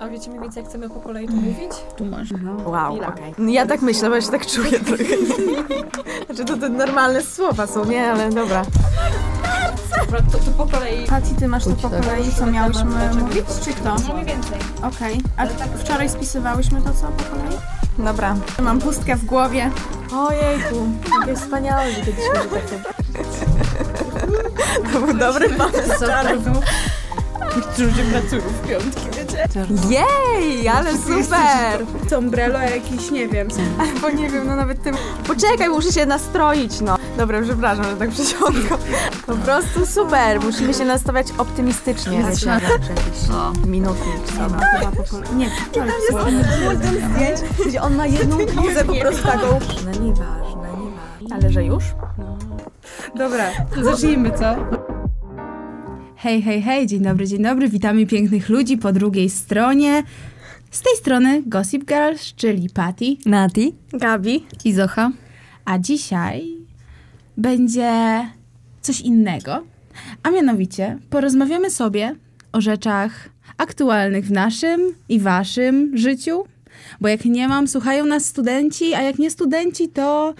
A wiecie mniej więcej, jak chcemy po kolei to mówić? Tu masz. Wow, Chwila. okej. Ja tak myślę, bo ja się tak czuję trochę. znaczy to te normalne słowa są, nie? Ale no. dobra. Dobra, to, to po kolei. Pati, ty masz to po kolei, co miałyśmy Dlaczego? mówić, czy kto? No mniej więcej. Okej. A wczoraj spisywałyśmy to, co po kolei? Dobra. Mam pustkę w głowie. Ojejku, jakie wspaniałe, że kiedyś mieli takie... To był dobry pomysł, Czarnu. Ludzie pracują w piątki, wiecie? Jej, ale super! To umbrello jakieś, nie wiem. Bo nie wiem, no nawet tym... Poczekaj, muszę się nastroić, no. Dobra, przepraszam, że tak przysiągłam. Po prostu super, musimy się nastawiać optymistycznie. Znaczy, Minutnik, co? Chyba po kolei. Nie, wczoraj Gdzie on ma jedną bluzę po prostu taką. No nieważne, nieważne. Ale że już? Dobra, zacznijmy, co? Hej, hej, hej, dzień dobry, dzień dobry. Witamy pięknych ludzi po drugiej stronie. Z tej strony Gossip Girls, czyli Patty Nati? Gabi. i Zocha. A dzisiaj będzie coś innego. A mianowicie porozmawiamy sobie o rzeczach aktualnych w naszym i waszym życiu. Bo jak nie mam, słuchają nas studenci, a jak nie studenci, to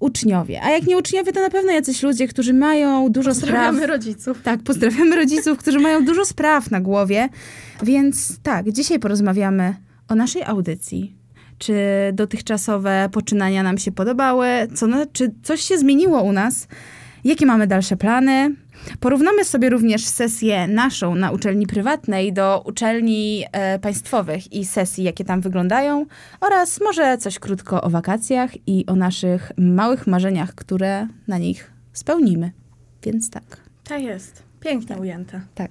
uczniowie. A jak nie uczniowie, to na pewno jacyś ludzie, którzy mają dużo spraw. rodziców. Tak, pozdrawiamy rodziców, którzy mają dużo spraw na głowie. Więc tak, dzisiaj porozmawiamy o naszej audycji. Czy dotychczasowe poczynania nam się podobały? Co, na- czy coś się zmieniło u nas? Jakie mamy dalsze plany? Porównamy sobie również sesję naszą na uczelni prywatnej do uczelni e, państwowych i sesji, jakie tam wyglądają, oraz może coś krótko o wakacjach i o naszych małych marzeniach, które na nich spełnimy. Więc tak. Tak jest. Pięknie ujęte. Tak,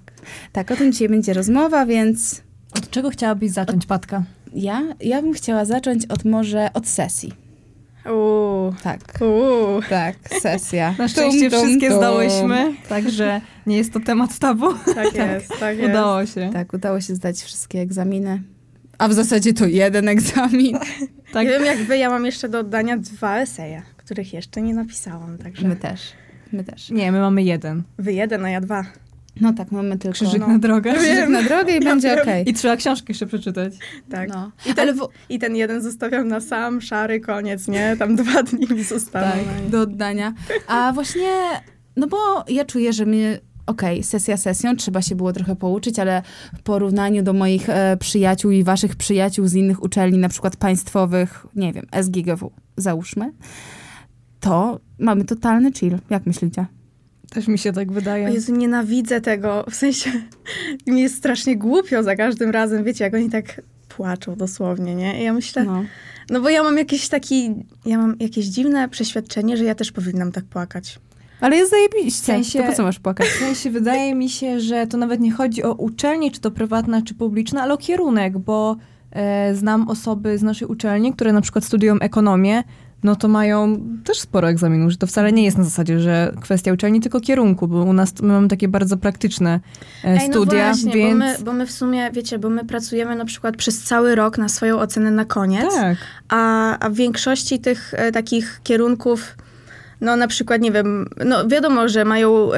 tak, o tym dzisiaj będzie rozmowa, więc Od czego chciałabyś zacząć, Patka? ja, ja bym chciała zacząć od może od sesji. Uuu. Tak, Uuu. tak, sesja. Na szczęście Tum, tum, wszystkie tum. zdałyśmy, także nie jest to temat tabu. Tak jest, tak jest. Udało się. Tak, udało się zdać wszystkie egzaminy. A w zasadzie to jeden egzamin. Tak. Nie wiem jak wy, ja mam jeszcze do oddania dwa eseje, których jeszcze nie napisałam, My także też, my też. Nie, my mamy jeden. wy jeden, a ja dwa. No tak, mamy tylko Krzyżyk no, na drogę. krzyżyk na drogę i będzie okej. I trzeba książkę jeszcze przeczytać. Tak. No. I, ten, Ale w, I ten jeden zostawiam na sam szary koniec, nie? Tam dwa dni mi zostało. tak, do oddania. A właśnie, no bo ja czuję, że mnie, okej, sesja sesją, trzeba się było trochę pouczyć, ale w porównaniu do moich e, przyjaciół i waszych przyjaciół z innych uczelni, na przykład państwowych, nie wiem, SGGW, załóżmy, to mamy totalny chill. Jak myślicie? Też mi się tak O wydaje. Jezu, nienawidzę tego. W sensie mi jest strasznie głupio za każdym razem, wiecie, jak oni tak płaczą dosłownie, nie? I ja myślę, Tak. no. No. bo ja mam jakiś taki, ja mam jakieś dziwne przeświadczenie, że ja też powinnam tak płakać. Ale jest zajebiście. W sensie- To po co masz płakać? W sensie wydaje mi się, że to nawet nie chodzi o uczelnię, czy to prywatna, czy publiczna, ale o kierunek, bo e, znam osoby z naszej uczelni, które na przykład studiują ekonomię, no to mają też sporo egzaminów, że to wcale nie jest na zasadzie, że kwestia uczelni, tylko kierunku, bo u nas my mamy takie bardzo praktyczne e, studia, no właśnie, więc... bo, my, bo my w sumie, wiecie, bo my pracujemy na przykład przez cały rok na swoją ocenę na koniec, Tak, a, a w większości tych e, takich kierunków, no na przykład, nie wiem, no wiadomo, że mają e,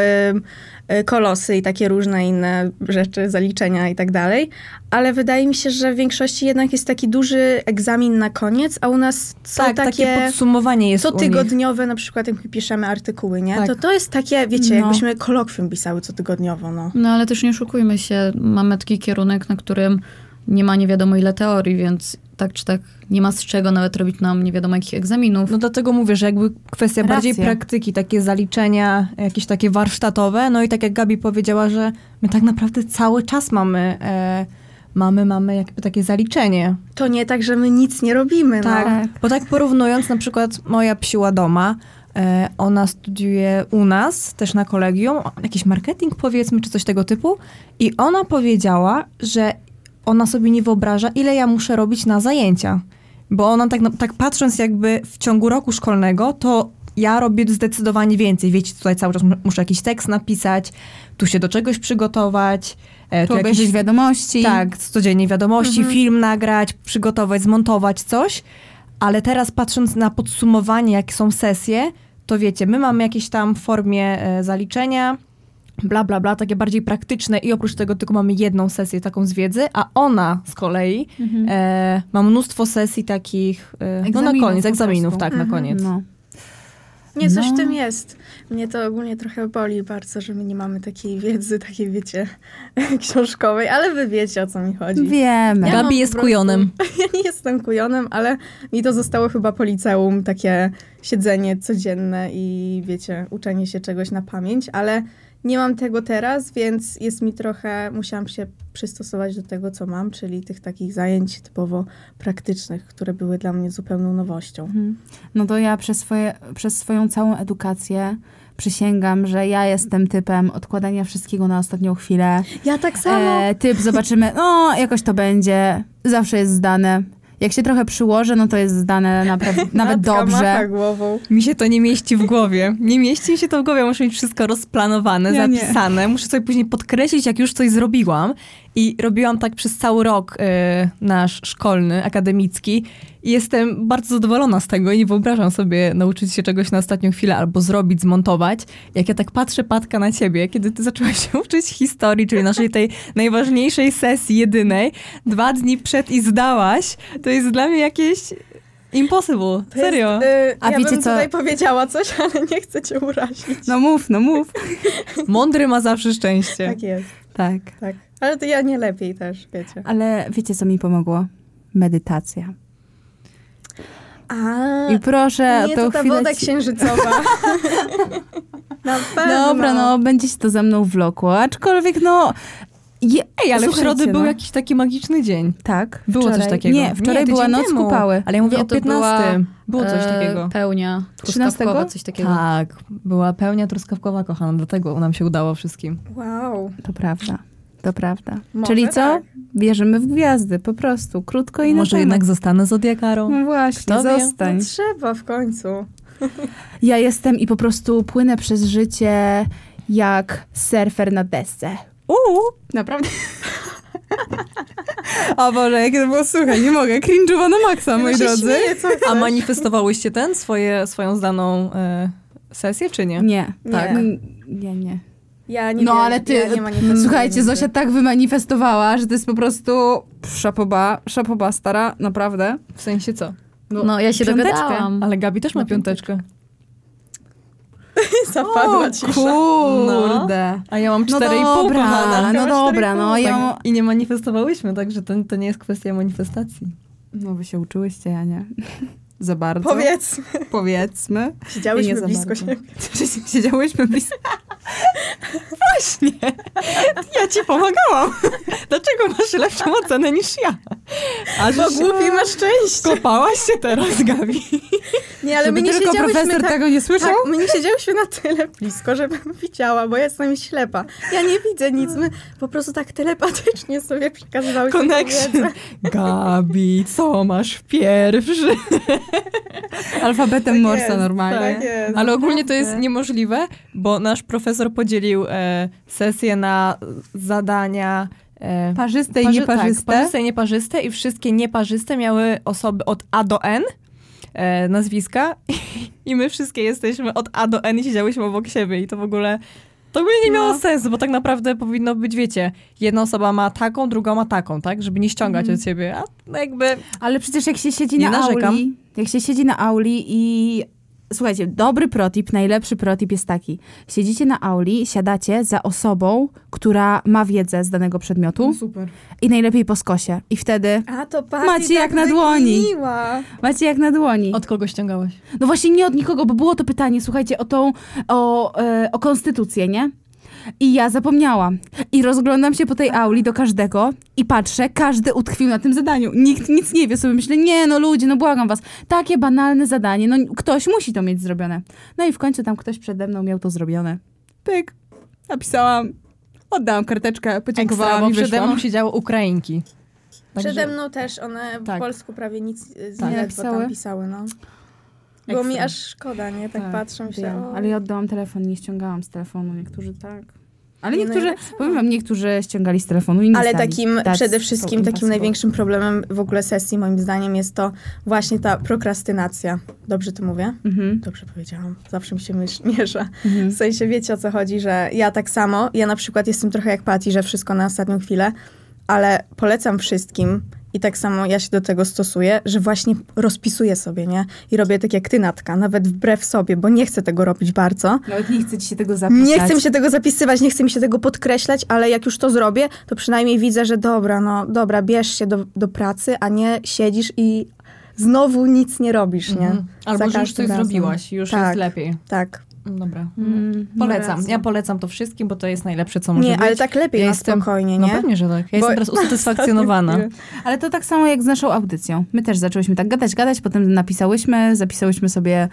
e, kolosy i takie różne inne rzeczy, zaliczenia i tak dalej, ale wydaje mi się, że w większości jednak jest taki duży egzamin na koniec, a u nas są tak takie, takie... podsumowanie jest co u nich. tygodniowe, na przykład jak my piszemy artykuły, nie? Tak. To to jest takie, wiecie, No. jakbyśmy kolokwium pisały cotygodniowo, no. No ale też nie oszukujmy się, mamy taki kierunek, na którym nie ma nie wiadomo ile teorii, więc tak czy tak nie ma z czego nawet robić nam nie wiadomo jakich egzaminów. No dlatego mówię, że jakby kwestia Racja. bardziej praktyki, takie zaliczenia, jakieś takie warsztatowe. No i tak jak Gabi powiedziała, że my tak naprawdę cały czas mamy, e, mamy, mamy jakby takie zaliczenie. To nie tak, że my nic nie robimy, no. Tak. Bo tak porównując, na przykład moja psiła doma, e, ona studiuje u nas, też na kolegium, jakiś marketing powiedzmy, czy coś tego typu. I ona powiedziała, że ona sobie nie wyobraża, ile ja muszę robić na zajęcia. Bo ona tak, na- tak patrząc jakby w ciągu roku szkolnego, to ja robię zdecydowanie więcej. Wiecie, tutaj cały czas mu- muszę jakiś tekst napisać, tu się do czegoś przygotować, e, Tu tu obejrzysz jakiś wiadomości. tak, codziennie wiadomości, film nagrać, przygotować, zmontować coś. Ale teraz patrząc na podsumowanie, jakie są sesje, to wiecie, my mamy jakieś tam w formie e, zaliczenia, bla, bla, bla, takie bardziej praktyczne i oprócz tego tylko mamy jedną sesję taką z wiedzy, a ona z kolei e, ma mnóstwo sesji takich, e, no na Egzaminów koniec, po egzaminów, prostu. tak, na koniec. No. Nie, coś No. w tym jest. Mnie to ogólnie trochę boli bardzo, że my nie mamy takiej wiedzy, takiej wiecie, książkowej, ale wy wiecie o co mi chodzi. Wiemy. Ja mam Gabi po jest prostu- kujonem. Ja nie jestem kujonem, ale mi to zostało chyba po liceum, takie siedzenie codzienne i wiecie, uczenie się czegoś na pamięć, ale nie mam tego teraz, więc jest mi trochę, musiałam się przystosować do tego, co mam, czyli tych takich zajęć typowo praktycznych, które były dla mnie zupełną nowością. No to ja przez, swoje, przez swoją całą edukację przysięgam, że ja jestem typem odkładania wszystkiego na ostatnią chwilę. Ja tak E, typ, zobaczymy, no jakoś to będzie, zawsze jest zdane. Jak się trochę przyłożę, no to jest zdane naprawdę, nawet Matka tak. macha dobrze. głową. Mi się to nie mieści w głowie. Nie mieści mi się to w głowie. Muszę mieć wszystko rozplanowane, Ja nie. zapisane. Muszę sobie później podkreślić, jak już coś zrobiłam. I robiłam tak przez cały rok e, nasz szkolny, akademicki. I jestem bardzo zadowolona z tego i nie wyobrażam sobie nauczyć się czegoś na ostatnią chwilę albo zrobić, zmontować. Jak ja tak patrzę, Patka, na ciebie, kiedy ty zaczęłaś się uczyć historii, czyli naszej tej najważniejszej sesji, jedynej, dwa dni przed i zdałaś, to jest dla mnie jakieś... Impossible, To jest, serio. y, A ja wiecie bym co- tutaj powiedziała coś, ale nie chcę cię urazić. No mów, no mów. Mądry ma zawsze szczęście. Tak jest, Tak. tak. Ale to ja nie lepiej też, wiecie. Ale wiecie, co mi pomogło? Medytacja. A, I proszę, nie, o tą to ta chwilę woda ci- księżycowa. Na pewno. Dobra, no, będzie się to ze mną wlokło. Aczkolwiek, no... Je, Ej, ale w Słuchajcie, środę był no. jakiś taki magiczny dzień. Tak. Było wczoraj. coś takiego. Nie, wczoraj tydzień była noc temu. kupały. Ale ja mówię Nie, o to była, 15. Było coś E, takiego. Pełnia, 13? truskawkowa, coś takiego. Tak, była pełnia truskawkowa, kochana, dlatego nam się udało wszystkim. Wow. To prawda. To prawda. Może Czyli co? tak. Wierzymy w gwiazdy, po prostu. Krótko No i na Może temat. jednak zostanę zodiakarą? No właśnie, Kto wie? zostań. No trzeba w końcu. Ja jestem i po prostu płynę przez życie jak surfer na desce. Uuu! Naprawdę. o Boże, jakie to było słuchaj, nie mogę. Cringe'owo na maksa, moi Ja No się drodzy. śmieję, co A manifestowałyście ten, swoje, swoją zdaną e, sesję, czy nie? Nie, Nie. tak. N- Nie, nie. Ja nie no wiem, ale ty, ja nie manifestuję słuchajcie, nigdy. Zosia tak wymanifestowała, że to jest po prostu szapoba, szapoba stara, naprawdę. W sensie co? No, ja się Piąteczkę. dogadałam. Ale Gabi też ma Na piąteczkę. piąteczkę. Zapadła cisza. Kurde. A ja mam No 4,5, dobra, kochana. Ja no mam dobra, 4,5, no tak. ja mam- I nie manifestowałyśmy, także to, to nie jest kwestia manifestacji. No wy się uczyłyście, ja nie. Za bardzo. Powiedz. Powiedzmy. Siedziałyśmy Nie za blisko bardzo. siebie. Siedziałyśmy blisko. Ja ci pomagałam. Dlaczego masz lepszą ocenę niż ja? A Bo głupi ma szczęście. Kopałaś się teraz, Gabi. Nie, ale Żeby my nie tylko siedziałyśmy profesor tak... tego nie słyszał. Tak, my nie siedziałyśmy na tyle blisko, żebym widziała, bo ja jestem ślepa. Ja nie widzę nic. My po prostu tak telepatycznie sobie przekazywałyśmy tę wiedzę. Connection. Gabi, co masz w pierwszy? Alfabetem Tak Morsa jest, normalnie. Tak jest. Ale ogólnie to jest niemożliwe, bo nasz profesor podzielił e, sesję na zadania e, Parzyste i parzy- nieparzyste. Tak, parzyste i nieparzyste i wszystkie nieparzyste miały osoby od A do N. E, nazwiska i my wszystkie jesteśmy od A do N i siedziałyśmy obok siebie i to w ogóle to by nie No. miało sensu, bo tak naprawdę powinno być, wiecie, jedna osoba ma taką, druga ma taką, tak? Żeby nie ściągać od siebie, a no jakby Ale przecież jak się siedzi Nie na narzekam. auli, jak się siedzi na auli i słuchajcie, dobry protip, najlepszy protip jest taki. Siedzicie na auli, siadacie za osobą, która ma wiedzę z danego przedmiotu. No, super. I najlepiej po skosie. I wtedy A to Patty Macie jak tak na dłoni. wykminiła. macie jak na dłoni. od kogo ściągałaś? No właśnie nie od nikogo, bo było to pytanie, słuchajcie, o tą, o, e, o konstytucję, nie? I ja zapomniałam. I rozglądam się po tej auli do każdego i patrzę, każdy utkwił na tym zadaniu. Nikt nic nie wie, sobie myślę, nie no ludzie, no błagam was. Takie banalne zadanie, no ktoś musi to mieć zrobione. No i w końcu tam ktoś przede mną miał to zrobione. Pyk, napisałam, oddałam karteczkę, Ekstra, podziękowałam bo i przede wyszłam. mną siedziały Ukrainki. Także- Przede mną też one Tak. po polsku prawie nic y, z Tak. tak. Nie ledwo napisały? tam pisały, no. Było mi aż szkoda, nie? Tak, Tak, patrzę się. Wiem, o. Ale ja oddałam telefon, nie ściągałam z telefonu, niektórzy tak. Ale Nie, niektórzy, no powiem wam, niektórzy ściągali z telefonu i nie Ale znali. takim That's przede so wszystkim takim impossible. największym problemem w ogóle sesji moim zdaniem jest to właśnie ta prokrastynacja. Dobrze to mówię? Mhm, Dobrze powiedziałam. Zawsze mi się mysz- miesza. mhm. W sensie wiecie o co chodzi, że ja tak samo, ja na przykład jestem trochę jak Pati, że wszystko na ostatnią chwilę, ale polecam wszystkim i tak samo ja się do tego stosuję, że właśnie rozpisuję sobie, nie? I robię tak jak ty, Natka, nawet wbrew sobie, bo nie chcę tego robić bardzo. Nawet nie chcę ci się tego zapisać. Nie chcę mi się tego zapisywać, nie chcę mi się tego podkreślać, ale jak już to zrobię, to przynajmniej widzę, że dobra, no dobra, bierz się do, do pracy, a nie siedzisz i znowu nic nie robisz, nie? Mhm. Za Albo że już każdym coś razem. zrobiłaś, już Tak. jest lepiej. Tak. Dobra. Mm, Polecam. no racja. Ja polecam to wszystkim, bo to jest najlepsze, co może Nie, być. ale tak lepiej Ja na jestem- spokojnie, No nie? pewnie, że tak. Ja Bo- jestem teraz usatysfakcjonowana. Ale to tak samo jak z naszą audycją. My też zaczęłyśmy tak gadać, gadać, potem napisałyśmy, zapisałyśmy sobie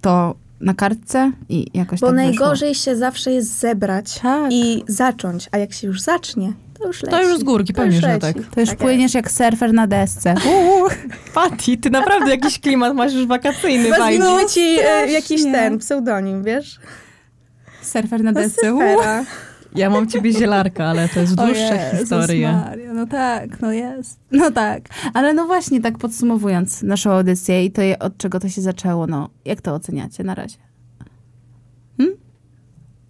to na kartce i jakoś Bo tak najgorzej się zawsze jest zebrać Tak. i zacząć, a jak się już zacznie, to już leci. To już z górki, Tak, To pewnie, już że leci. tak. Wyszło. To już Tak płyniesz jak surfer na desce. Pati, ty naprawdę jakiś klimat masz już wakacyjny. Chyba fajny. zmieniły ci e, strasznie. jakiś ten pseudonim, wiesz? Surfer na Do desce. Uuu. surfera. Ja mam ciebie zielarka, ale to jest O dłuższa Jezus historia. Maria, no tak, no jest. No tak. Ale no właśnie, tak podsumowując naszą audycję i to, je- od czego to się zaczęło, no jak to oceniacie na razie? Hmm?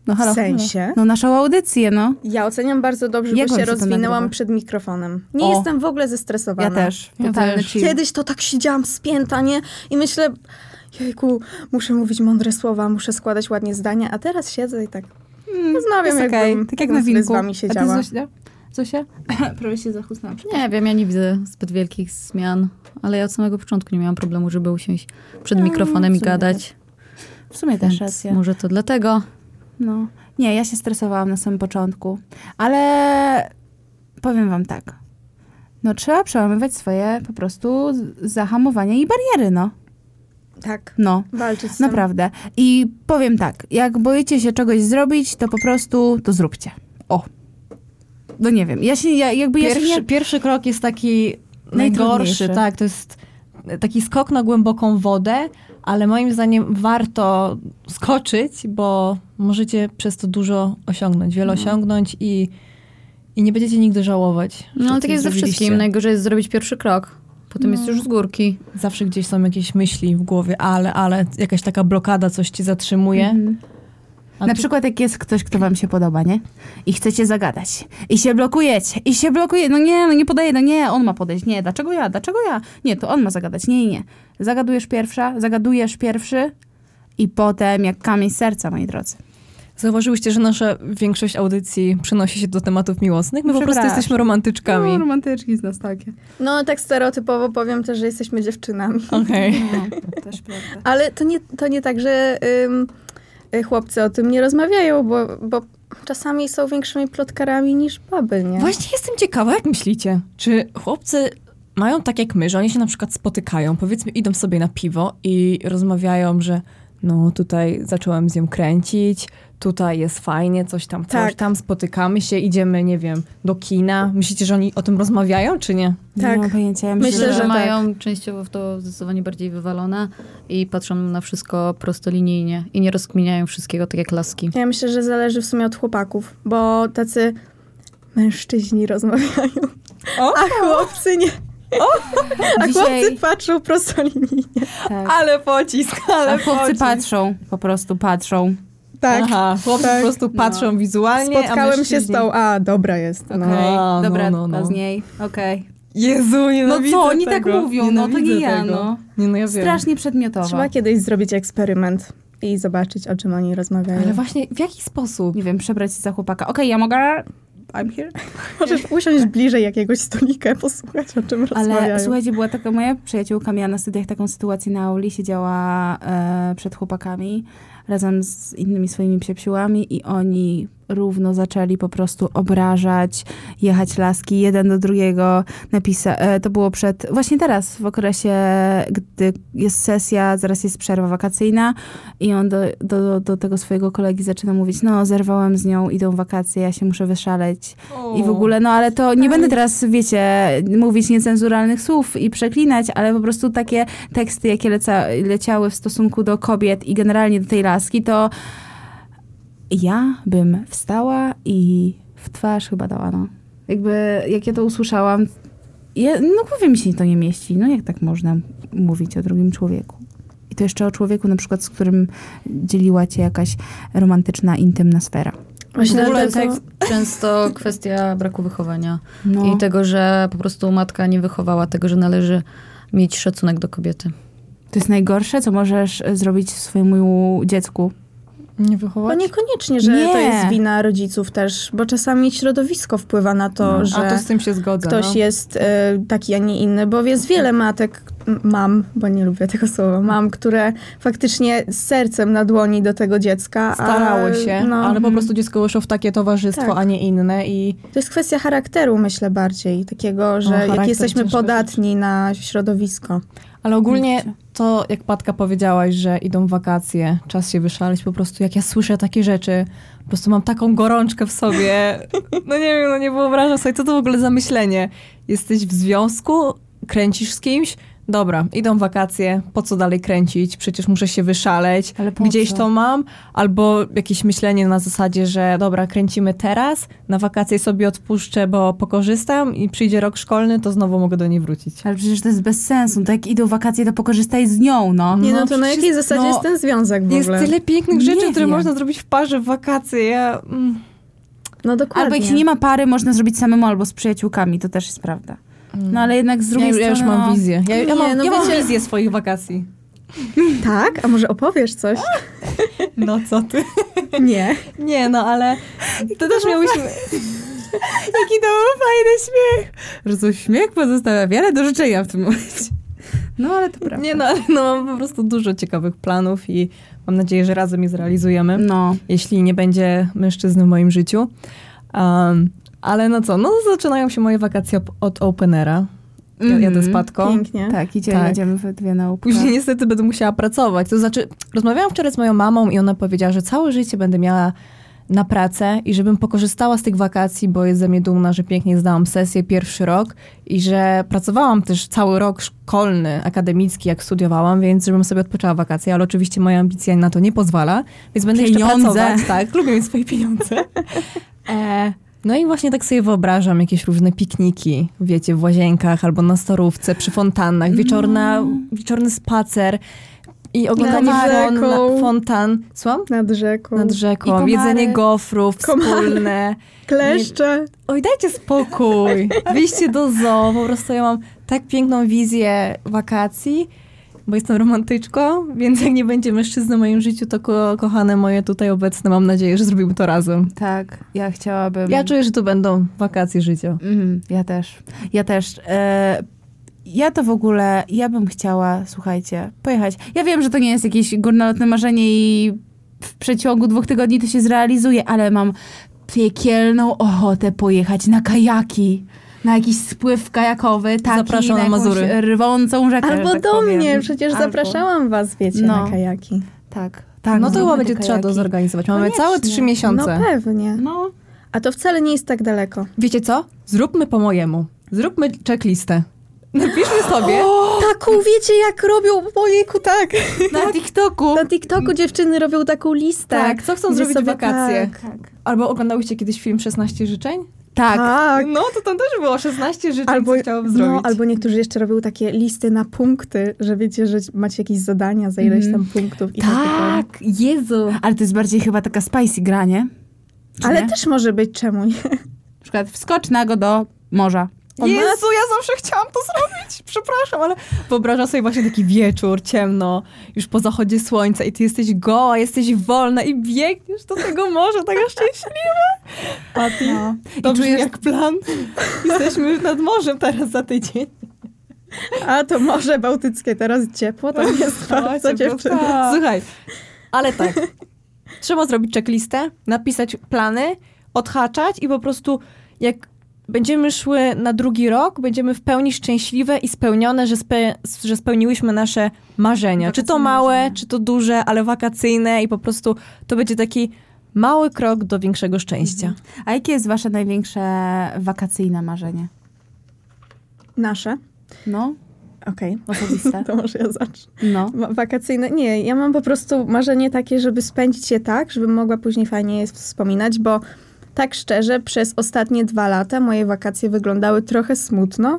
No halo. W sensie? No naszą audycję, no. Ja oceniam bardzo dobrze, Jak bo on się się to nagrywa? rozwinęłam przed mikrofonem. Nie O. jestem w ogóle Ja zestresowana. też. Ja Totalny też. chill. Kiedyś to tak siedziałam spięta, nie? I myślę, jejku, muszę mówić mądre słowa, muszę składać ładnie zdania, a teraz siedzę i tak Mm, rozmawiam, jest jakbym- okej. tak jak jakbym na sobie winku. z wami siedziała. A ty Zosia? Zosia? Prawie się zachusnęłam. Nie wiem, ja nie widzę zbyt wielkich zmian, ale ja od samego początku nie miałam problemu, żeby usiąść No, przed mikrofonem w i sumie gadać. W sumie też Więc racja. może to dlatego. No. Nie, ja się stresowałam na samym początku, ale powiem wam tak. No trzeba przełamywać swoje po prostu z- zahamowania i bariery, no. tak, No. walczyć z tym. Naprawdę. I powiem tak, jak boicie się czegoś zrobić, to po prostu to zróbcie. O. No nie wiem. Ja się, ja, jakby ja się Pierwszy, nie... pierwszy krok jest taki Najtrudniejszy. najgorszy, tak. To jest taki skok na głęboką wodę, ale moim zdaniem warto skoczyć, bo możecie przez to dużo osiągnąć, No. wiele osiągnąć i, i nie będziecie nigdy żałować. że No ale coś tak jest ze zrobiliście. wszystkim. Najgorzej jest zrobić pierwszy krok. Potem No. jest już z górki. Zawsze gdzieś są jakieś myśli w głowie, ale, ale jakaś taka blokada coś ci zatrzymuje. Mhm. A Na tu- przykład jak jest ktoś, kto wam się podoba, nie? I chcecie zagadać. I się blokujecie. I się blokuje. No nie, no nie podaje. No nie, on ma podejść. Nie, dlaczego ja? Dlaczego ja? Nie, to on ma zagadać. Nie, nie, nie. Zagadujesz pierwsza, zagadujesz pierwszy i potem jak kamień z serca, moi drodzy. Zauważyłyście, że nasza większość audycji przenosi się do tematów miłosnych? My po prostu Przepraszam. jesteśmy romantyczkami. No, romantyczki z nas takie. No tak stereotypowo powiem też, że jesteśmy dziewczynami. Okej. no. to też prawda. Ale to nie, to nie tak, że ym, y, chłopcy o tym nie rozmawiają, bo, bo czasami są większymi plotkarami niż baby, nie? Właśnie jestem ciekawa, jak myślicie? Czy chłopcy mają tak jak my, że oni się na przykład spotykają, powiedzmy idą sobie na piwo i rozmawiają, że no tutaj zacząłem z nią kręcić, tutaj jest fajnie, coś tam, coś Tak. tam, spotykamy się, idziemy, nie wiem, do kina. Myślicie, że oni o tym rozmawiają, czy nie? Nie Tak. mam pojęcia. Ja myślę, Myślę, Myślę, że, że tak. mają częściowo w to zdecydowanie bardziej wywalone i patrzą na wszystko prostolinijnie i nie rozkminiają wszystkiego tak jak laski. Ja myślę, że zależy w sumie od chłopaków, bo tacy mężczyźni rozmawiają, O! a chłopcy nie. A Dzisiaj- chłopcy patrzą prosto linijnie. tak. Ale pocisk, ale A chłopcy patrzą, po prostu patrzą. Tak. Aha, chłopcy tak. po prostu patrzą wizualnie, a Spotkałem się z mężczyźni- tą, a dobra jest. Okej, No. no, dobra, no, dwa no. z niej. Okej. Jezu, No nienawidzę co, oni tego. tak mówią, no to Nienawidzę nie ja, tego. no. Nie, no ja wiem. Strasznie przedmiotowa. Trzeba kiedyś zrobić eksperyment i zobaczyć, o czym oni rozmawiają. Ale właśnie, w jaki sposób? Nie wiem, przebrać się za chłopaka. Okej, ja mogę... I'm here. Możesz usiąść bliżej jakiegoś stolika, i posłuchać, o czym Ale rozmawiają. słuchajcie, była taka moja przyjaciółka, miała na studiach taką sytuację na auli, siedziała e, przed chłopakami razem z innymi swoimi psiepsiłami i oni równo zaczęli po prostu obrażać, jechać laski jeden do drugiego. Napisa- e, to było przed, właśnie teraz, w okresie, gdy jest sesja, zaraz jest przerwa wakacyjna i on do, do, do tego swojego kolegi zaczyna mówić, no zerwałem z nią, idą wakacje, ja się muszę wyszaleć. I w ogóle, no ale to nie będę teraz, wiecie, mówić niecenzuralnych słów i przeklinać, ale po prostu takie teksty, jakie leca, leciały w stosunku do kobiet i generalnie do tej laski, to ja bym wstała i w twarz chyba dała, no. Jakby, jak ja to usłyszałam, ja, no głowie mi się to nie mieści. No jak tak można mówić o drugim człowieku? I to jeszcze o człowieku na przykład, z którym dzieliła cię jakaś romantyczna, intymna sfera. Właśnie W ogóle dlatego tak często kwestia braku wychowania No. i tego, że po prostu matka nie wychowała tego, że należy mieć szacunek do kobiety. To jest najgorsze, co możesz e, zrobić swojemu dziecku. Nie Bo wychować? No niekoniecznie, że Nie. to jest wina rodziców też, bo czasami środowisko wpływa na to, No, że A to z tym się zgodzę. ktoś no. jest y, taki, a nie inny, bo jest wiele matek, m- mam, bo nie lubię tego słowa, mam, które faktycznie z sercem na dłoni do tego dziecka. Starało a, się, no, ale po prostu dziecko wyszło w takie towarzystwo, Tak. a nie inne i To jest kwestia charakteru, myślę bardziej, takiego, że jak No, charakter jesteśmy ciężko podatni na środowisko. Ale ogólnie to, jak Patka powiedziałaś, że idą wakacje, czas się wyszaleć, po prostu jak ja słyszę takie rzeczy, po prostu mam taką gorączkę w sobie. No nie wiem, no nie wyobrażam sobie, co to w ogóle za myślenie. Jesteś w związku, kręcisz z kimś, dobra, idą wakacje, po co dalej kręcić, przecież muszę się wyszaleć, Ale po gdzieś co? to mam, albo jakieś myślenie na zasadzie, że dobra, kręcimy teraz, na wakacje sobie odpuszczę, bo pokorzystam i przyjdzie rok szkolny, to znowu mogę do niej wrócić. Ale przecież to jest bez sensu. No To jak idą wakacje, to pokorzystaj z nią, no. Nie no, No, to na przecież- jakiej zasadzie no, jest ten związek w Jest ogóle? tyle pięknych Nie rzeczy, które wiem. można zrobić w parze w wakacje. Ja, mm, No dokładnie. Albo jeśli nie ma pary, można zrobić samemu albo z przyjaciółkami. To też jest prawda. No ale jednak z Mm. ja, drugiej już- strony... ja już no, mam wizję. Ja, ja, Nie, mam, no ja mam wiecie- wizję swoich wakacji. Tak? A może opowiesz coś? No co ty? Nie. Nie, no ale to też miałyśmy... Jaki to był fajny śmiech! Że śmiech pozostawia wiele do życzenia w tym momencie. No ale to prawda. Nie no, ale no, mam po prostu dużo ciekawych planów i mam nadzieję, że razem je zrealizujemy. No. jeśli nie będzie mężczyzny w moim życiu. Um, ale no co, no zaczynają się moje wakacje op- od Openera. Ja, Jadę z Mhm. Patką. Pięknie. Tak, idzie, Tak. jedziemy we dwie na łupkę. Później niestety będę musiała pracować. To znaczy, rozmawiałam wczoraj z moją mamą i ona powiedziała, że całe życie będę miała na pracę i żebym pokorzystała z tych wakacji, bo jest ze mnie dumna, że pięknie zdałam sesję pierwszy rok i że pracowałam też cały rok szkolny, akademicki, jak studiowałam, więc żebym sobie odpoczęła wakacje, ale oczywiście moja ambicja na to nie pozwala, więc będę jeszcze Pieniądze. pracować. Tak, lubię mieć swoje pieniądze. E, no i właśnie tak sobie wyobrażam jakieś różne pikniki, wiecie, w łazienkach albo na storówce, przy fontannach, wieczorna, wieczorny spacer i oglądanie No. Nad fon, rzeką. fontan, słucham? Nad rzeką. Nad I rzeką, komary. jedzenie gofrów Komary. wspólne. Kleszcze. tak, Oj, dajcie spokój. Wyjście do zoo, po prostu ja mam tak piękną wizję wakacji, bo jestem romantyczką, więc jak nie będzie mężczyzny w moim życiu, to ko- kochane moje tutaj obecne, mam nadzieję, że zrobimy to razem. Tak, ja chciałabym... Ja czuję, że to będą wakacje życia. Mhm, ja też. Ja też. E, ja to w ogóle, ja bym chciała, słuchajcie, pojechać. Ja wiem, że to nie jest jakieś górnolotne marzenie i w przeciągu dwóch tygodni to się zrealizuje, ale mam piekielną ochotę pojechać na kajaki. Na jakiś spływ kajakowy, taki Zapraszam na na jakąś Mazury. rwącą rzekę. Albo że tak do powiem. mnie, przecież Albo- zapraszałam was, wiecie, No. na kajaki. Tak, tak. no to zrobimy chyba będzie te trzeba to kajaki. zorganizować. Mamy Koniecznie. całe trzy No miesiące. pewnie. No, A to wcale nie jest tak daleko. Wiecie co? Zróbmy po mojemu. Zróbmy checklistę. Napiszmy sobie. Taką, wiecie, jak robią, ojejku, tak. na TikToku. Na TikToku dziewczyny robią taką listę. tak, co chcą Gdzie zrobić w sobie wakacje. tak. Albo oglądałyście kiedyś film 16 życzeń? Tak. Tak. No, to tam też było 16 życzeń, Albo, co chciałabym zrobić. no, albo niektórzy jeszcze robią takie listy na punkty, że wiecie, że macie jakieś zadania za ileś tam punktów. I Mhm. Tak. Jezu. Ale to jest bardziej chyba taka spicy gra, nie? Czy Ale nie? też może być, czemu nie? Na przykład wskocz nago do morza. Jezu, ja zawsze chciałam to zrobić. Przepraszam, ale wyobrażam sobie właśnie taki wieczór, ciemno, już po zachodzie słońca i ty jesteś goła, jesteś wolna i biegniesz do tego morza, taka szczęśliwa. A ty... To brzmi czujesz- jak plan. Jesteśmy nad morzem teraz za tydzień. A to Morze Bałtyckie, teraz ciepło, to No, jest bardzo dziewczyny. Słuchaj, ale tak. Trzeba zrobić checklistę, napisać plany, odhaczać i po prostu jak będziemy szły na drugi rok, będziemy w pełni szczęśliwe i spełnione, że, spe, że spełniłyśmy nasze marzenia. czy to Wakacyjne małe, marzenia. czy to duże, ale wakacyjne i po prostu to będzie taki mały krok do większego szczęścia. A jakie jest wasze największe wakacyjne marzenie? Nasze. No, Okej. osobiste. To może ja zacznę. No. Ma- Wakacyjne? Nie, ja mam po prostu marzenie takie, żeby spędzić je tak, żebym mogła później fajnie je wspominać, bo tak szczerze, przez ostatnie dwa lata moje wakacje wyglądały trochę smutno,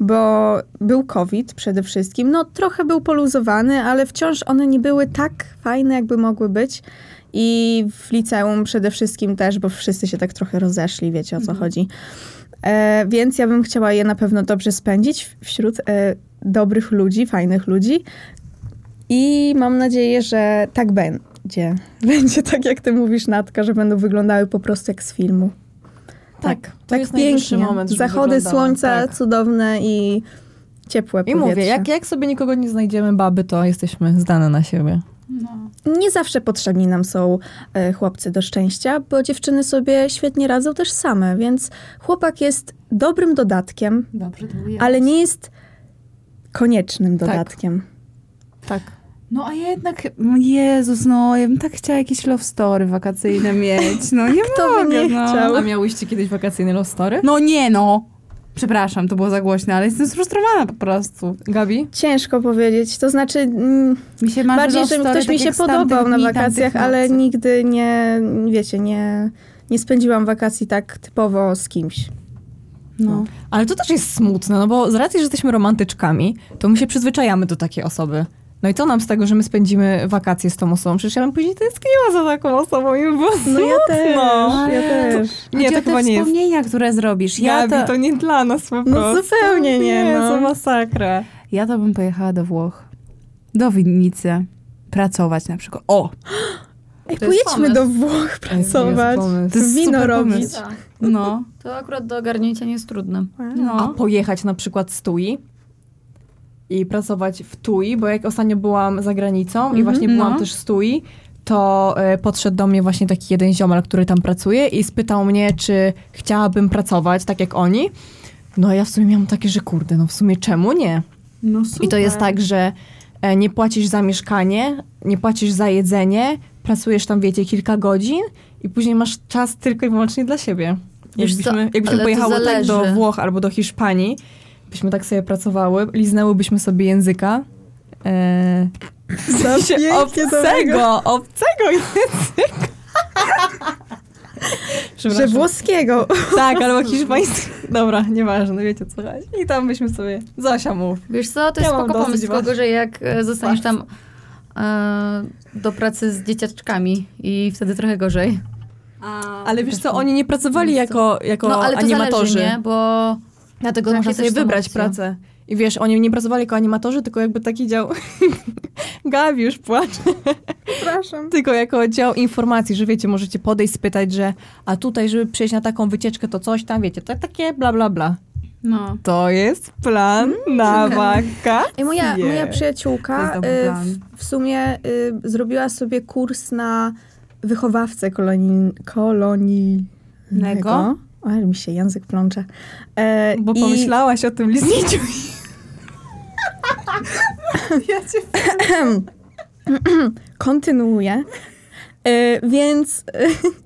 bo był COVID przede wszystkim. No, trochę był poluzowany, ale wciąż one nie były tak fajne, jakby mogły być. I w liceum przede wszystkim też, bo wszyscy się tak trochę rozeszli, wiecie o co chodzi. E, więc ja bym chciała je na pewno dobrze spędzić w- wśród e, dobrych ludzi, fajnych ludzi. I mam nadzieję, że tak będzie. Będzie tak, jak ty mówisz, Natka, że będą wyglądały po prostu jak z filmu. Tak, tak, to jest najwyższy moment, żeby Zachody wyglądała, słońca tak. cudowne i ciepłe I powietrze. mówię, jak, jak sobie nikogo nie znajdziemy, baby, to jesteśmy zdane na siebie. Nie zawsze potrzebni nam są e, chłopcy do szczęścia, bo dziewczyny sobie świetnie radzą też same, więc chłopak jest dobrym dodatkiem, Dobrze, to ujęłaś. ale nie jest koniecznym dodatkiem. Tak. No a ja jednak, Jezus, no ja bym tak chciała jakieś love story wakacyjne mieć. No nie Kto by mogę, nie no. chciał? A miałyście kiedyś wakacyjne love story? No nie no. Przepraszam, to było za głośne, ale jestem sfrustrowana po prostu. Gabi? Ciężko powiedzieć, to znaczy... Mm, Mi się marzy Bardziej, love że story, ktoś tak mi się jak z tamtych podobał na dni, tamtych wakacjach, ale nocy. nigdy nie, wiecie, nie, nie spędziłam wakacji tak typowo z kimś. No. Ale to też jest smutne, no bo z racji, że jesteśmy romantyczkami, to my się przyzwyczajamy do takiej osoby. No i co nam z tego, że my spędzimy wakacje z tą osobą? Przecież ja bym później tęskniła za taką osobą i by było No ja też, smutno. ja też. Nie, Chodzi to o te chyba nie jest. wspomnienia, które zrobisz. Ja Gabi, to... to, nie dla nas po No prostu. zupełnie nie, Jezu, no. masakra. ja to bym pojechała do Włoch. Do winnicy. Pracować na przykład. O! Ej, To jest pojedźmy pomysł. do Włoch pracować, pomysł. To jest wino super robić. pomysł. No. To akurat do ogarnięcia nie jest trudne. A no. pojechać na przykład z TUI i pracować w TUI, bo jak ostatnio byłam za granicą i właśnie byłam no. też z TUI, to e, podszedł do mnie właśnie taki jeden ziomal, który tam pracuje i spytał mnie, czy chciałabym pracować tak jak oni. No a ja w sumie miałam takie, że kurde, no w sumie czemu nie? no super. I to jest tak, że e, nie płacisz za mieszkanie, nie płacisz za jedzenie, pracujesz tam, wiecie, kilka godzin i później masz czas tylko i wyłącznie dla siebie. Wiesz co, Jakbyśmy, jakbyśmy ale to pojechały tak do zależy. Włoch albo do Hiszpanii, byśmy tak sobie pracowały, liznęłybyśmy sobie języka. E, w sensie pięknie, obcego, obcego języka. Że Przepraszam. włoskiego. Tak, albo hiszpański. Dobra, nieważne, wiecie co chodzi. I tam byśmy sobie... Zosia mów. Wiesz co, to jest Ja mam spoko dosyć pomysł was. kogo, że jak e, zostaniesz tam e, do pracy z dzieciaczkami i wtedy trochę gorzej. Ale wiesz co, oni nie pracowali jako, jako No ale to animatorzy. zależy, nie? Bo Dlatego Takie można sobie też są wybrać opcje. pracę. I wiesz, oni nie pracowali jako animatorzy, tylko jakby taki dział... Gabi już płacze. Przepraszam. Tylko jako dział informacji, że wiecie, możecie podejść, spytać, że a tutaj, żeby przejść na taką wycieczkę, to coś tam, wiecie, to takie bla, bla, bla. No. To jest plan Mm, na wakacje. Ej, moja, moja To przyjaciółka jest y, dobry plan. w, w sumie y, zrobiła sobie kurs na wychowawcę kolonii... kolonijnego. Nego? Ale mi się język plącze. E, Bo i- pomyślałaś o tym listnieciu. kontynuuję. E, więc. E,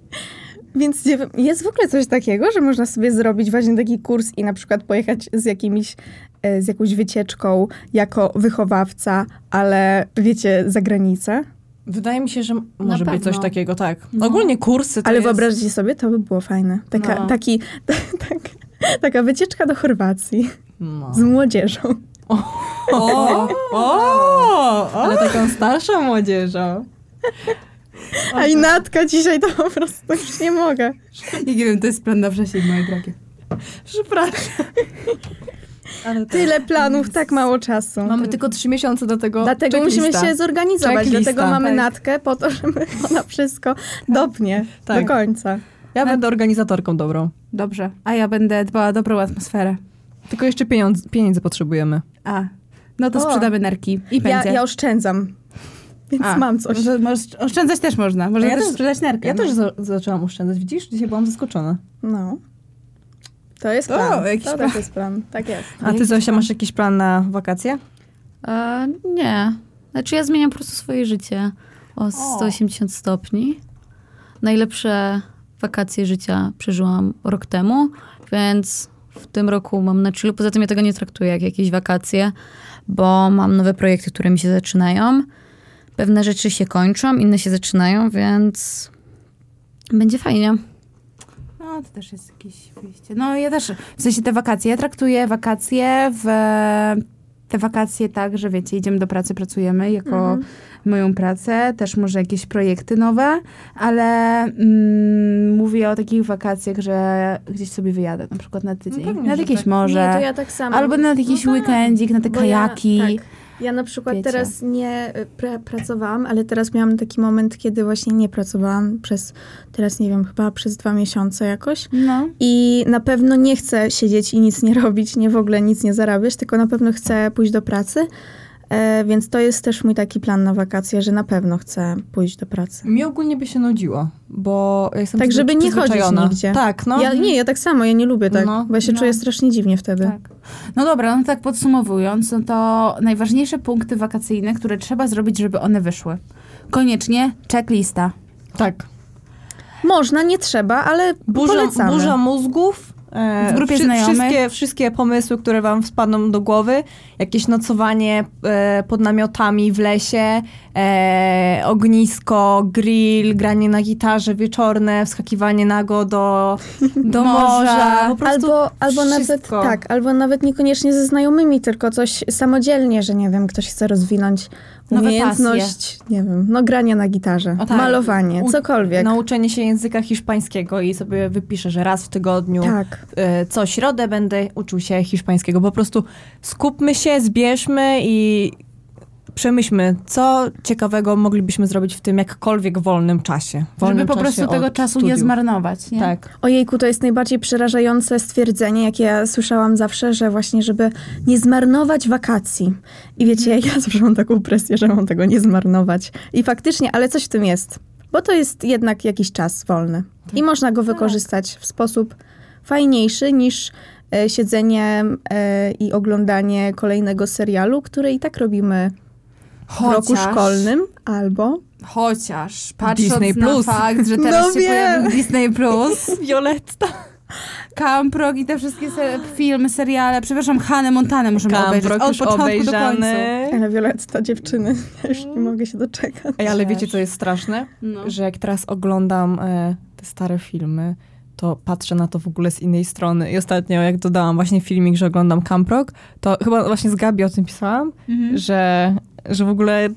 więc nie wiem, jest w ogóle coś takiego, że można sobie zrobić właśnie taki kurs i na przykład pojechać z jakimiś. e, Z jakąś wycieczką jako wychowawca, ale wiecie, za granicę. Wydaje mi się, że może być coś pewno. No. takiego, tak. Ogólnie kursy to Ale jest... wyobraźcie sobie, to by było fajne. Taka, No. taki, tak, taka wycieczka do Chorwacji No. z młodzieżą. O, o, ale taką starszą młodzieżą. A i Natka dzisiaj to po prostu już nie mogę. Nie wiem, to jest plan na wrzesień, moje drogie. Przepraszam. Ale tak. Tyle planów, tak mało czasu. Mamy tylko trzy miesiące do tego. Dlatego checklista. musimy się zorganizować, Checklista. dlatego mamy Tak. Natkę po to, żeby ona wszystko dopnie Tak. do końca. Ja będę organizatorką dobrą. Dobrze. A ja będę dbała o dobrą atmosferę. Tylko jeszcze pieniądz, pieniędzy potrzebujemy. A. No to O. sprzedamy nerki i Ja, pędzę. ja oszczędzam, więc A, mam coś. Może, możesz- oszczędzać też można. Można Ja też też- sprzedać nerkę. Ja no. też za- zaczęłam oszczędzać, widzisz? Dzisiaj byłam zaskoczona. No. To jest To plan. jakiś to plan. też jest plan. Tak jest. A ty, Zosia, masz jakiś plan na wakacje? e, nie. Znaczy ja zmieniam po prostu swoje życie o 180 stopni. Najlepsze wakacje życia przeżyłam rok temu, więc w tym roku mam na chillu. Poza tym ja tego nie traktuję jak jakieś wakacje, bo mam nowe projekty, które mi się zaczynają. Pewne rzeczy się kończą, inne się zaczynają, więc będzie fajnie. No, to też jest jakieś wyjście. No, ja też, w sensie te wakacje, ja traktuję wakacje w... Te wakacje tak, że wiecie, idziemy do pracy, pracujemy jako Mhm. moją pracę, też może jakieś projekty nowe, ale mm, mówię o takich wakacjach, że gdzieś sobie wyjadę, na przykład na tydzień, pewnie, nad że jakieś tak. Nie, morze, to ja No tak samo. albo nad jakiś No tak. weekendzik, na te Bo kajaki. Ja, tak. ja na przykład Wiecie. teraz nie y, pra, pracowałam, ale teraz miałam taki moment, kiedy właśnie nie pracowałam przez, teraz nie wiem, chyba przez dwa miesiące jakoś. No. I na pewno nie chcę siedzieć i nic nie robić, nie w ogóle nic nie zarabiać, tylko na pewno chcę pójść do pracy. E, więc to jest też mój taki plan na wakacje, że na pewno chcę pójść do pracy. Mi ogólnie by się nudziło, bo ja jestem Tak, żeby nie chodzić przyzwyczajona. nigdzie. Tak, no. Ja, nie, ja tak samo, ja nie lubię tak, No, bo ja się no. czuję strasznie dziwnie wtedy. Tak. No dobra, no tak podsumowując, no to najważniejsze punkty wakacyjne, które trzeba zrobić, żeby one wyszły. Koniecznie checklista. tak. Można, nie trzeba, ale Burza, polecamy. burza mózgów. e, W grupie znajomych. Wszystkie, wszystkie pomysły, które wam wpadną do głowy. Jakieś nocowanie e, pod namiotami w lesie, e, ognisko, grill, granie na gitarze wieczorne, wskakiwanie nago do, do Morza. morza. Po prostu Albo, albo nawet wszystko. tak, albo nawet niekoniecznie ze znajomymi, tylko coś samodzielnie, że nie wiem, ktoś chce rozwinąć Nowe umiejętność, nie wiem, no granie na gitarze, O tak. malowanie, U- no. cokolwiek. Nauczenie się języka hiszpańskiego i sobie wypiszę, że raz w tygodniu tak. e, co środę będę uczył się hiszpańskiego. Po prostu skupmy się, zbierzmy i przemyślmy, co ciekawego moglibyśmy zrobić w tym jakkolwiek wolnym czasie. Wolnym Żeby po prostu czasie tego od czasu nie studiów. zmarnować, nie? Tak. Ojejku, to jest najbardziej przerażające stwierdzenie, jakie ja słyszałam zawsze, że właśnie, żeby nie zmarnować wakacji. I wiecie, ja zawsze mam taką presję, że mam tego nie zmarnować. I faktycznie, ale coś w tym jest. Bo to jest jednak jakiś czas wolny. Tak. I można No go wykorzystać w sposób fajniejszy niż e, siedzenie e, i oglądanie kolejnego serialu, który i tak robimy w roku szkolnym albo... Chociaż, patrząc Disney na Plus. fakt, że teraz No się wiem. pojawił Disney+, Plus, Violetta. Camprog i te wszystkie se- filmy, seriale, przepraszam, Hannę Montanę możemy obejrzeć od już początku do końca. obejrzany. Ale Violetta, dziewczyny, ja już nie mogę się doczekać. Mm. Ej, ale Wiesz. wiecie, co jest straszne? No. Że jak teraz oglądam e, te stare filmy, to patrzę na to w ogóle z innej strony. I ostatnio, jak dodałam właśnie filmik, że oglądam Camp Rock, to chyba właśnie z Gabi o tym pisałam, Mhm. że, że w ogóle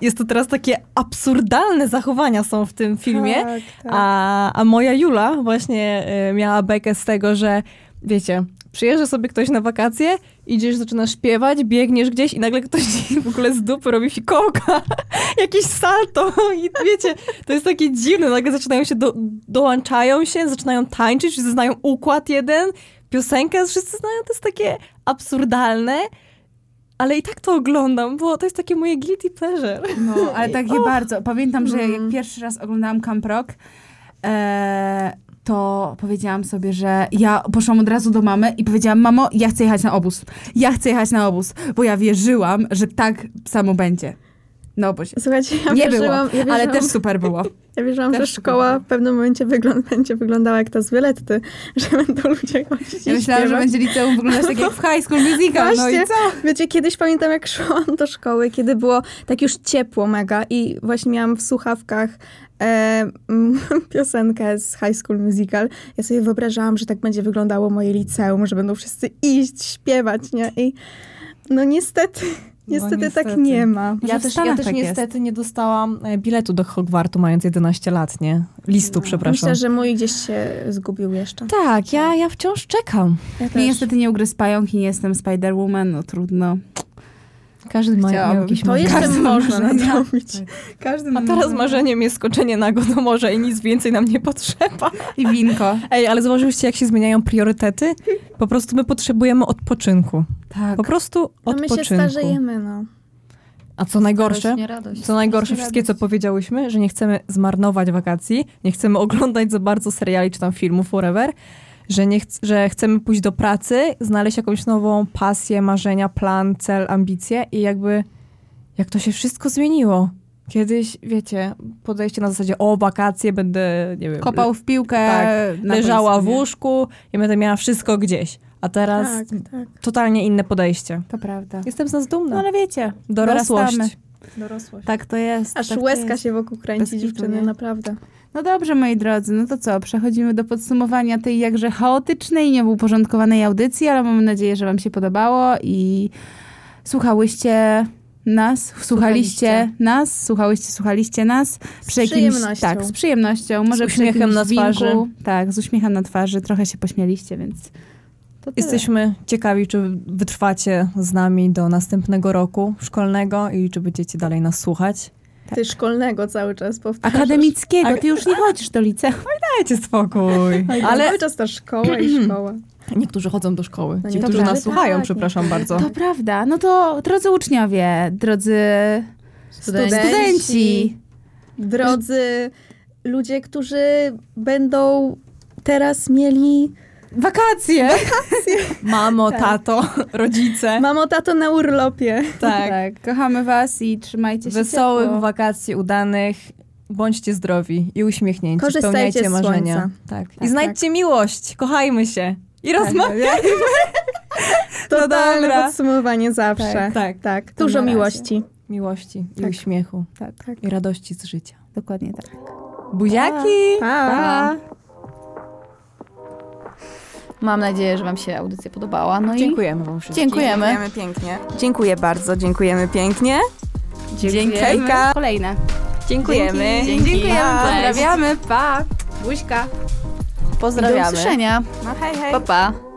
jest to teraz takie absurdalne zachowania są w tym filmie. Tak, tak. A, a moja Jula właśnie y, miała bekę z tego, że wiecie, przyjeżdża sobie ktoś na wakacje, idziesz, zaczynasz śpiewać, biegniesz gdzieś i nagle ktoś ci w ogóle z dupy robi fikołka, jakiś salto i wiecie, to jest takie dziwne, nagle zaczynają się, do, dołączają się, zaczynają tańczyć, wszyscy znają układ jeden, piosenkę, wszyscy znają, to jest takie absurdalne, ale i tak to oglądam, bo to jest takie moje guilty pleasure. No, ale takie bardzo. Pamiętam, że jak pierwszy raz oglądałam Camp Rock, e, to powiedziałam sobie, że ja poszłam od razu do mamy i powiedziałam, mamo, ja chcę jechać na obóz. Ja chcę jechać na obóz, bo ja wierzyłam, że tak samo będzie. Na obozie. Słuchajcie, ja Nie było, wierzyłam, ja ale wierzyłam- też super było. Ja wierzyłam, Też że szkoła w pewnym momencie wygląd- będzie wyglądała jak ta z Violetty, że będą ludzie chodzić Ja i myślałam, że śpiewać. będzie liceum wyglądać tak jak w High School Musical, no i Właśnie. co? Wiecie, kiedyś pamiętam, jak szłam do szkoły, kiedy było tak już ciepło mega i właśnie miałam w słuchawkach e, mm, piosenkę z High School Musical. Ja sobie wyobrażałam, że tak będzie wyglądało moje liceum, że będą wszyscy iść, śpiewać, nie? I no niestety, niestety, tak niestety. nie ma. Może Ja w też, ja Stanach też tak jest. niestety nie dostałam e, biletu do Hogwartu mając 11 lat, nie? Listu, przepraszam. Myślę, że mój gdzieś się zgubił jeszcze. Tak, ja, ja wciąż czekam. Ja Mnie też. niestety nie ugryzł pająk i nie jestem Spider-Woman, no trudno. Każdy ma Chciałabym. miał jakieś To marzenie. jeszcze Każdy No, można może, tak. nadrobić. Każdy A teraz marzeniem jest skoczenie na go do morza i nic więcej nam nie potrzeba. I winko. Ej, ale zauważyliście, jak się zmieniają priorytety? Po prostu my potrzebujemy odpoczynku. Tak. Po prostu No my się odpoczynku. starzejemy, no. A co najgorsze, Nie radość. co najgorsze, wszystkie co powiedziałyśmy, że nie chcemy zmarnować wakacji, nie chcemy oglądać za bardzo seriali czy tam filmów, whatever, że, nie chc- że chcemy pójść do pracy, znaleźć jakąś nową pasję, marzenia, plan, cel, ambicje i jakby jak to się wszystko zmieniło. Kiedyś, wiecie, podejście na zasadzie o wakacje, będę, nie wiem, Kopał w piłkę. Tak, na leżała w boisku, nie? łóżku i będę miała wszystko gdzieś. A teraz Tak, tak. totalnie inne podejście. To prawda. Jestem z nas dumna. No ale wiecie, Dorosłość. dorastamy. Dorosłość. Tak to jest. Aż tak to łezka jest. się wokół kręci Bez kitu, dziewczyny, nie? naprawdę. No dobrze, moi drodzy, no to co? Przechodzimy do podsumowania tej jakże chaotycznej i nieuporządkowanej audycji, ale mam nadzieję, że wam się podobało i słuchałyście nas, słuchaliście Słuchaliście. nas, słuchałyście, słuchaliście nas. Przy przyjemnością. Tak, z przyjemnością. Może przy uśmiechem jakimś na twarzy. Dźwięku. Tak, z uśmiechem na twarzy. Trochę się pośmieliście, więc to tyle. Jesteśmy ciekawi, czy wytrwacie z nami do następnego roku szkolnego i czy będziecie dalej nas słuchać. Ty szkolnego cały czas powtarzasz. Akademickiego, ty już nie chodzisz do liceum. Dajcie spokój. Tak, Ale cały czas ta szkoła i szkoła. Niektórzy chodzą do szkoły. No Ci, nie, którzy tak. nas słuchają, Tak. przepraszam bardzo. To prawda. No to drodzy uczniowie, drodzy Studenci. studenci, Drodzy ludzie, którzy będą teraz mieli wakacje. Mamo, tato, rodzice. mamo, tato na urlopie. Tak. Tak, kochamy was i trzymajcie się Wesołych ciepło. wakacji udanych. Bądźcie zdrowi i uśmiechnięci. Korzystajcie Spełniajcie z marzenia. słońca. Tak. I tak. znajdźcie miłość. Kochajmy się. I rozmawiajmy. Totalne dobra. podsumowanie zawsze. Tak, Tak, tak. Dużo na razie. miłości. Miłości i Tak. uśmiechu. Tak, tak, I radości z życia. dokładnie tak. Buziaki! Pa. Mam nadzieję, że wam się audycja podobała. No Dziękujemy wam i wszystkim. dziękujemy. Dziękujemy pięknie. Dziękuję bardzo, dziękujemy pięknie. Dziękujemy. Hejka. Kolejne. Dziękujemy. Dzięki. Pa. Cześć. Pozdrawiamy, pa. Buźka. Do Pozdrawiamy. usłyszenia. No hej, hej. Pa, pa.